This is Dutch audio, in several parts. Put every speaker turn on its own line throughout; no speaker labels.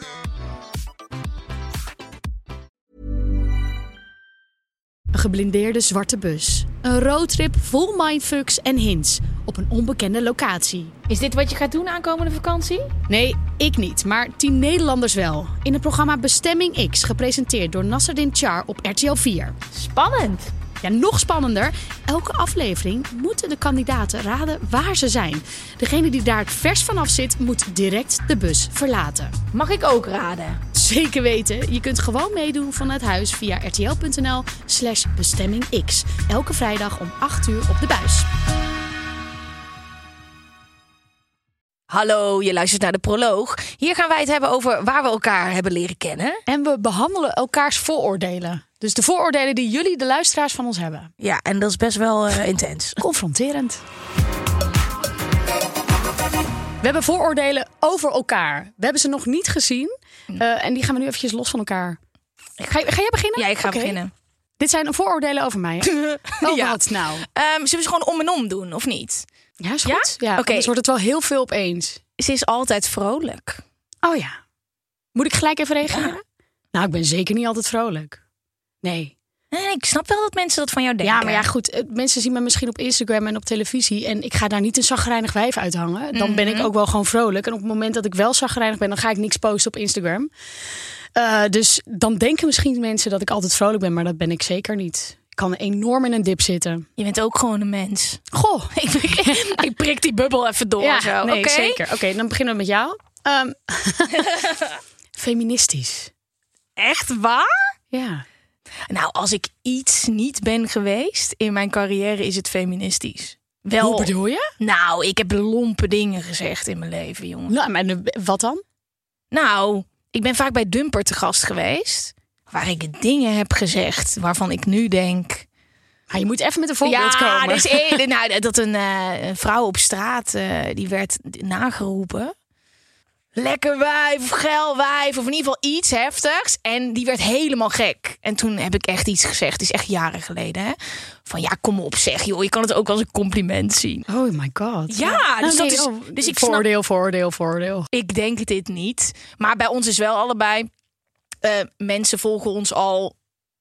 Een geblindeerde zwarte bus. Een roadtrip vol mindfucks en hints op een onbekende locatie.
Is dit wat je gaat doen aankomende vakantie?
Nee, ik niet, maar tien Nederlanders wel. In het programma Bestemming X, gepresenteerd door Nasserdin Char op RTL 4.
Spannend.
Ja, nog spannender. Elke aflevering moeten de kandidaten raden waar ze zijn. Degene die daar het vers vanaf zit, moet direct de bus verlaten.
Mag ik ook raden?
Zeker weten. Je kunt gewoon meedoen vanuit huis via rtl.nl slash bestemmingx. Elke vrijdag om 8 uur op de buis.
Hallo, je luistert naar de proloog. Hier gaan wij het hebben over waar we elkaar hebben leren kennen.
En we behandelen elkaars vooroordelen. Dus de vooroordelen die jullie, de luisteraars, van ons hebben.
Ja, en dat is best wel eh, intens.
Confronterend. We hebben vooroordelen over elkaar. We hebben ze nog niet gezien.
Hmm.
eh, en die gaan we nu eventjes los van elkaar. Ga, je- ga jij beginnen?
Ja, ik ga
Oké.
beginnen.
Dit zijn vooroordelen over mij. hè? Oh,
Ja.
wat nou?
Ehm, zullen we ze gewoon om en om doen, of niet?
Ja, is
Ja?
goed. Ja,
Oké.
anders wordt het wel heel veel opeens.
Ze is altijd vrolijk.
Oh ja. Moet ik gelijk even reageren? Nou, ik ben zeker niet altijd vrolijk. Nee.
Nee, ik snap wel dat mensen dat van jou denken.
Ja, maar ja, goed. eh, Mensen zien me misschien op Instagram en op televisie. En ik ga daar niet een zagrijnig wijf uithangen. Dan ben
Mhm.
ik ook wel gewoon vrolijk. En op het moment dat ik wel zagrijnig ben, dan ga ik niks posten op Instagram. Eh, dus dan denken misschien mensen dat ik altijd vrolijk ben. Maar dat ben ik zeker niet. Ik kan enorm in een dip zitten.
Je bent ook gewoon een mens.
Goh.
Ik, ik prik die bubbel even door zo.
nee,
Oké?
zeker. Oké, dan beginnen we met jou. Ehm, feministisch.
Echt waar?
Ja.
Nou, als ik iets niet ben geweest in mijn carrière, is het feministisch. Wel,
Hoe bedoel je?
Nou, ik heb lompe dingen gezegd in mijn leven, jongen.
Nou, maar nu- wat dan?
Nou, ik ben vaak bij Dumper te gast geweest. Waar ik dingen heb gezegd waarvan ik nu denk... oh,
Maar je moet even met een voorbeeld
ja,
komen.
er is één- nou, dat een, eh, een vrouw op straat, eh, die werd nageroepen. Lekker wijf, of geil wijf, of in ieder geval iets heftigs. En die werd helemaal gek. En toen heb ik echt iets gezegd, het is echt jaren geleden. Hè? Van ja, kom op zeg joh, je kan het ook als een compliment zien.
Oh my god.
Ja,
Nou,
dus dat
nee,
is-
oh,
dus ik snap-
voordeel, voordeel, voordeel.
Ik denk dit niet. Maar bij ons is wel allebei. eh, mensen volgen ons al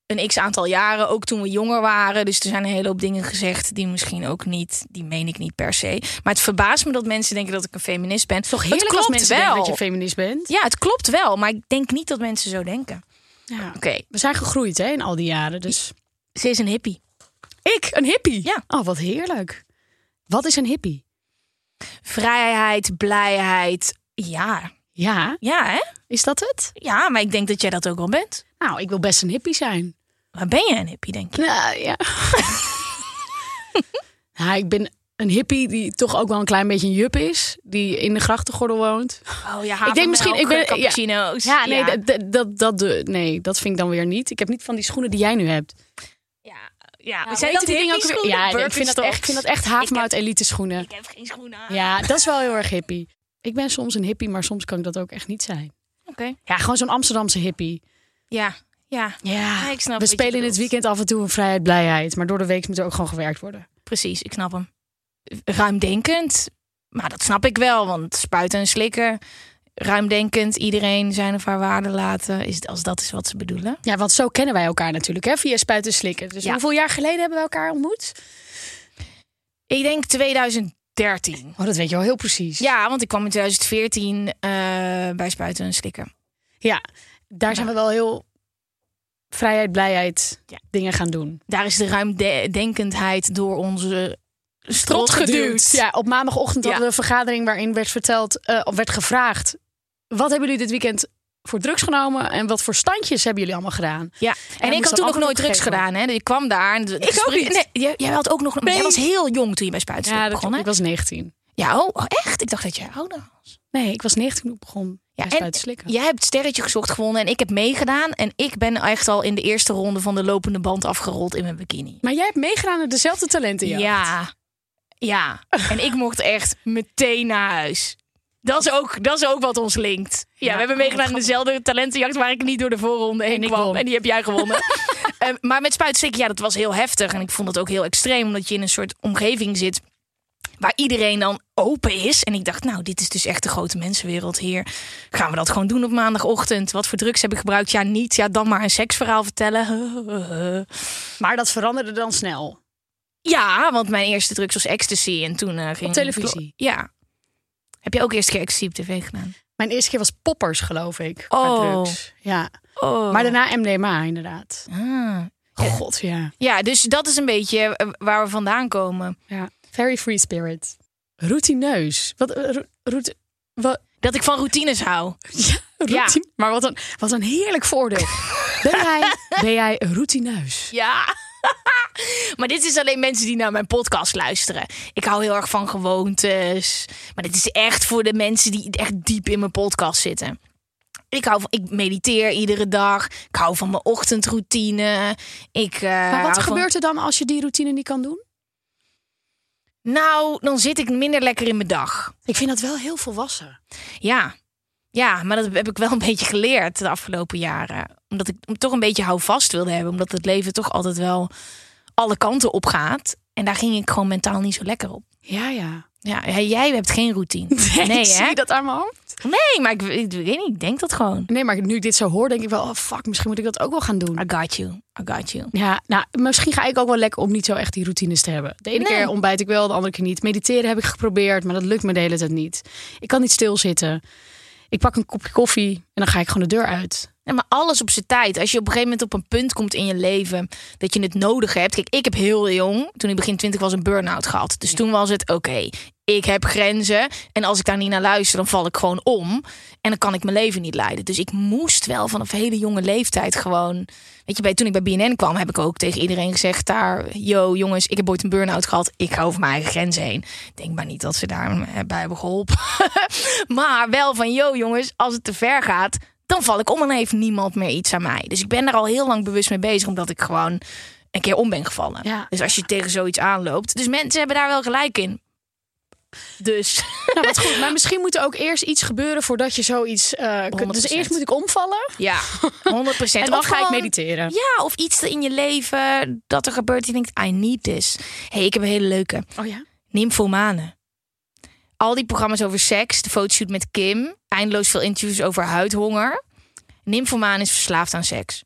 een x aantal jaren, ook toen we jonger waren. Dus er zijn een hele hoop dingen gezegd die misschien ook niet, die meen ik niet per se. Maar het verbaast me dat mensen denken dat ik een feminist ben. Toch
Heerlijk
het klopt
als mensen
wel.
denken dat je feminist bent.
ja, het klopt wel, maar ik denk niet dat mensen zo denken.
Ja.
Oké,
We zijn gegroeid hè, in al die jaren. Dus
ze is een hippie.
ik, een hippie.
Ja.
Oh, wat heerlijk. Wat is een hippie?
Vrijheid, blijheid. Ja,
Ja,
ja, hè?
is dat het?
Ja, maar ik denk dat jij dat ook wel bent.
Nou, ik wil best een hippie zijn.
Maar ben jij een hippie, denk je?
Nou, ja. ja. Nou, Ik ben een hippie die toch ook wel een klein beetje een jup is. Die in de grachtengordel woont.
Oh ja,
Ik denk misschien- ik ben- ja.
cappuccino's.
Ja, nee, Dat, dat, dat, doe- nee, dat vind ik dan weer niet. Ik heb niet van die schoenen die jij nu hebt.
Ja, ja.
Hoe
zijn
heet
dat
die
die
dingen
dingen
ook weer? Ja, nee, ik vind dat echt, ik vind dat echt havermout
Ik
elite schoenen.
Ik heb geen schoenen aan.
Ja, dat is wel heel erg hippie. Ik ben soms een hippie, maar soms kan ik dat ook echt niet zijn.
Oké.
Ja, gewoon zo'n Amsterdamse hippie.
Ja, ja.
Ja,
ik snap
We
wat je
spelen in het
bedoelt.
weekend af en toe een vrijheid, blijheid. Maar door de week moet er ook gewoon gewerkt worden.
Precies, ik snap hem. Ruimdenkend. Maar dat snap ik wel, want spuiten en slikken. Ruimdenkend, iedereen zijn of haar waarde laten. Is, als dat is wat ze bedoelen.
Ja, want zo kennen wij elkaar natuurlijk, hè? Via spuiten slikken. Dus
Ja.
hoeveel jaar geleden hebben we elkaar ontmoet?
Ik denk 2013.
Oh, dat weet je wel heel precies.
Ja, want ik kwam in 2014 eh, bij spuiten en slikken.
ja. Daar zijn we wel heel vrijheid, blijheid
Ja.
dingen gaan doen.
Daar is de ruimdenkendheid door onze strot geduwd.
Ja, op maandagochtend
Ja.
hadden we een vergadering waarin werd verteld, eh, of werd gevraagd: wat hebben jullie dit weekend voor drugs genomen en wat voor standjes hebben jullie allemaal gedaan?
Ja, en
moest dan
ik had toen ook
antwoord
nooit drugs
opgegeven
gedaan. Hè? Dus Ik kwam daar. En ik
ook niet.
jij, jij had ook nog. maar
Nee.
Jij was heel jong toen je bij Spuitslip
Ja, dat
begon.
klopt.
Hè?
Ik was 19.
Ja, oh, oh, echt? Ik dacht dat je ouder was.
Nee, ik was 19 toen ik begon.
Ja,
Best
en
uit te slikken.
jij hebt sterretje gezocht gewonnen en ik heb meegedaan. En ik ben echt al in de eerste ronde van de lopende band afgerold in mijn bikini.
Maar jij hebt meegedaan met dezelfde talenten.
Ja. Ja. En ik mocht echt meteen naar huis. Dat is ook, dat is ook wat ons linkt. Ja,
Ja,
we hebben
oh,
meegedaan in
grappig.
dezelfde talentenjacht waar ik niet door de voorronde heen
En ik
kwam.
won.
En die heb jij gewonnen. Ehm, maar met spuitstikken, ja, dat was heel heftig. En ik vond dat ook heel extreem, omdat je in een soort omgeving zit waar iedereen dan open is. En ik dacht, nou, dit is dus echt de grote mensenwereld hier. Gaan we dat gewoon doen op maandagochtend? Wat voor drugs heb ik gebruikt? Ja, niet. Ja, dan maar een seksverhaal vertellen.
Maar dat veranderde dan snel.
Ja, want mijn eerste drugs was ecstasy en toen eh, ging ik-
televisie?
ja. Heb je ook eerst een keer ecstasy op tv gedaan?
Mijn eerste keer was poppers, geloof ik. qua
Oh.
drugs. Ja.
Oh.
Maar daarna MDMA, inderdaad. God, ja.
Ah. Ja, dus dat is een beetje eh, waar we vandaan komen.
ja. Very free spirit. Routineus. Wat, eh, ro- roet- wat,
Dat ik van routines hou.
ja, routine. Maar wat een, wat een heerlijk voordeel. ben, jij, ben jij routineus?
Ja. maar dit is alleen mensen die naar mijn podcast luisteren. Ik hou heel erg van gewoontes. Maar dit is echt voor de mensen die echt diep in mijn podcast zitten. Ik, hou van, ik mediteer iedere dag. Ik hou van mijn ochtendroutine. Ik, eh,
maar wat gebeurt er dan als je die routine niet kan doen?
Nou, dan zit ik minder lekker in mijn dag.
Ik vind dat wel heel volwassen.
Ja. Ja, maar dat heb ik wel een beetje geleerd de afgelopen jaren. Omdat ik hem toch een beetje houvast wilde hebben. Omdat het leven toch altijd wel alle kanten op gaat. En daar ging ik gewoon mentaal niet zo lekker op.
Ja, ja.
Ja, ja, jij hebt geen routine. Nee,
ik
hè?
zie dat aan mijn hoofd.
Nee, maar ik, ik weet niet. Ik denk dat gewoon.
Nee, maar nu ik dit zo hoor, denk ik wel... Oh, fuck, misschien moet ik dat ook wel gaan doen.
I got you. I got you.
Ja, nou, misschien ga ik ook wel lekker om niet zo echt die routines te hebben. De ene
Nee.
keer ontbijt ik wel, de andere keer niet. Mediteren heb ik geprobeerd, maar dat lukt me de hele tijd niet. Ik kan niet stilzitten. Ik pak een kopje koffie en dan ga ik gewoon de deur uit.
Ja, maar alles op zijn tijd. Als je op een gegeven moment op een punt komt in je leven dat je het nodig hebt. Kijk, ik heb heel jong, toen ik begin 20 was, een burn-out gehad. Dus toen was het oké. ik heb grenzen en als ik daar niet naar luister, dan val ik gewoon om en dan kan ik mijn leven niet leiden. Dus ik moest wel vanaf hele jonge leeftijd gewoon, weet je, bij toen ik bij BNN kwam, heb ik ook tegen iedereen gezegd daar, yo jongens, ik heb ooit een burn-out gehad, ik ga over mijn eigen grenzen heen. Ik Denk maar niet dat ze daarbij hebben geholpen, maar wel van, yo jongens, als het te ver gaat, dan val ik om en dan heeft niemand meer iets aan mij. Dus ik ben daar al heel lang bewust mee bezig, omdat ik gewoon een keer om ben gevallen.
Ja.
Dus als je tegen zoiets aanloopt. Dus mensen hebben daar wel gelijk in. Dus
Nou, wat goed. Maar misschien moet er ook eerst iets gebeuren voordat je zoiets eh, kunt. Dus
100%.
eerst moet ik omvallen
ja, 100%.
en
En
dan ga ik mediteren.
Ja, of iets in je leven dat er gebeurt. die denkt, I need this. hey, ik heb een hele leuke.
Oh ja?
Nymphomane. Al die programma's over seks, de fotoshoot met Kim. Eindeloos veel interviews over huidhonger. Nymphomane is verslaafd aan seks.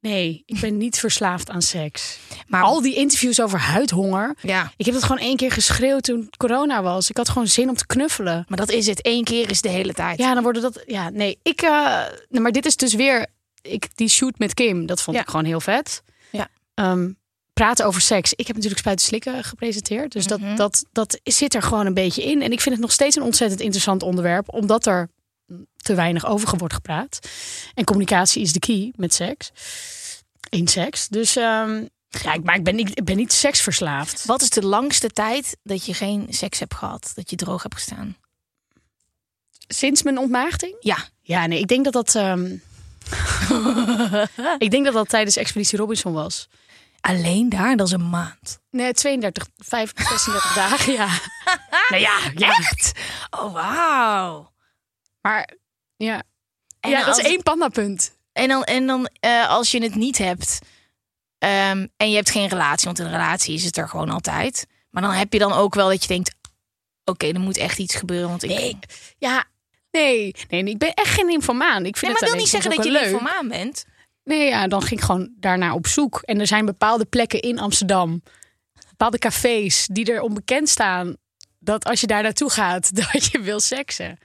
Nee, ik ben niet verslaafd aan seks.
Maar
Al die interviews over huidhonger.
ja,
Ik heb dat gewoon één keer geschreeuwd toen corona was. Ik had gewoon zin om te knuffelen.
maar dat is het. Eén keer is de hele tijd.
Ja, dan worden dat. Ja, nee, ik. eh, nee, maar dit is dus weer. Ik, die shoot met Kim, dat vond
Ja.
ik gewoon heel vet.
Ja.
Ehm, praten over seks. Ik heb natuurlijk Spuiten Slikken gepresenteerd. Dus dat,
Mhm.
dat, dat zit er gewoon een beetje in. En ik vind het nog steeds een ontzettend interessant onderwerp, omdat er te weinig over wordt gepraat. En communicatie is de key met seks. In seks. Dus ehm, ja, ik, maar ik ben niet, ik ben niet seksverslaafd.
Wat is de langste tijd dat je geen seks hebt gehad? Dat je droog hebt gestaan?
Sinds mijn ontmaagding?
Ja.
Ja, nee, ik denk dat dat. ehm, ik denk dat dat tijdens Expeditie Robinson was.
Alleen daar, dat is een maand.
Nee, 32, 35, 36 dagen, ja. Ah,
Nou ja, echt? Oh, wauw.
Maar ja,
En
ja dat
als-
is één pandapunt.
En dan, en dan eh, als je het niet hebt ehm, en je hebt geen relatie, want in een relatie is het er gewoon altijd. Maar dan heb je dan ook wel dat je denkt: oké, er moet echt iets gebeuren. Want ik...
Nee, Ja, nee, nee, nee, ik ben echt geen informaan. Ik vind
Nee, maar
het
dat wil
alleen soms
niet zeggen dat je
ook
een
wel leuk.
informaan bent.
Nee, ja, dan ging ik gewoon daarna op zoek. En er zijn bepaalde plekken in Amsterdam, bepaalde cafés die er onbekend staan. Dat als je daar naartoe gaat, dat je wil seksen.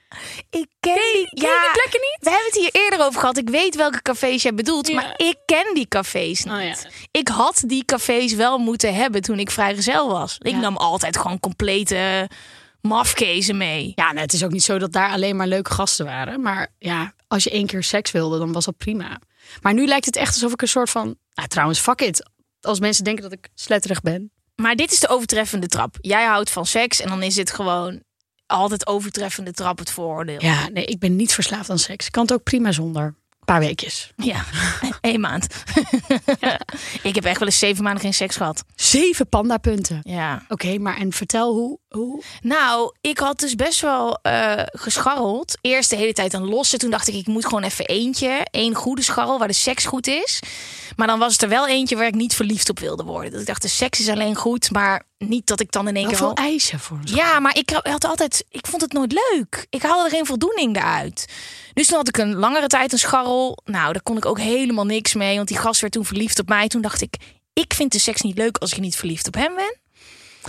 Ik ken die,
ken je die plekken
niet. We hebben het hier eerder over gehad. Ik weet welke cafés jij bedoelt,
Ja.
maar ik ken die cafés niet.
Oh ja.
Ik had die cafés wel moeten hebben toen ik vrijgezel was. Ik
Ja.
nam altijd gewoon complete mafkezen mee.
Ja, nou, het is ook niet zo dat daar alleen maar leuke gasten waren. Maar ja, als je één keer seks wilde, dan was dat prima. Maar nu lijkt het echt alsof ik een soort van... Nou, trouwens, fuck it. Als mensen denken dat ik sletterig ben.
Maar dit is de overtreffende trap. Jij houdt van seks en dan is het gewoon altijd overtreffende trap het vooroordeel.
Ja, nee, ik ben niet verslaafd aan seks. Ik kan het ook prima zonder. Een paar weekjes.
Ja, één maand. Ik heb echt wel eens zeven maanden geen seks gehad.
Zeven pandapunten.
Ja.
Oké, maar en vertel hoe... hoe...
Nou, ik had dus best wel eh, gescharreld. Eerst de hele tijd aan lossen. Toen dacht ik, ik moet gewoon even eentje. Eén goede scharrel waar de seks goed is. Maar dan was het er wel eentje waar ik niet verliefd op wilde worden. Dat ik dacht, de seks is alleen goed. Maar niet dat ik dan in één
Wel
keer...
veel
wel-
eisen voor ons.
Ja, maar ik had altijd, ik vond het nooit leuk. Ik haalde er geen voldoening uit. Dus toen had ik een langere tijd een scharrel. Nou, daar kon ik ook helemaal niks mee, want die gast werd toen verliefd op mij. Toen dacht ik, ik vind de seks niet leuk als ik niet verliefd op hem ben.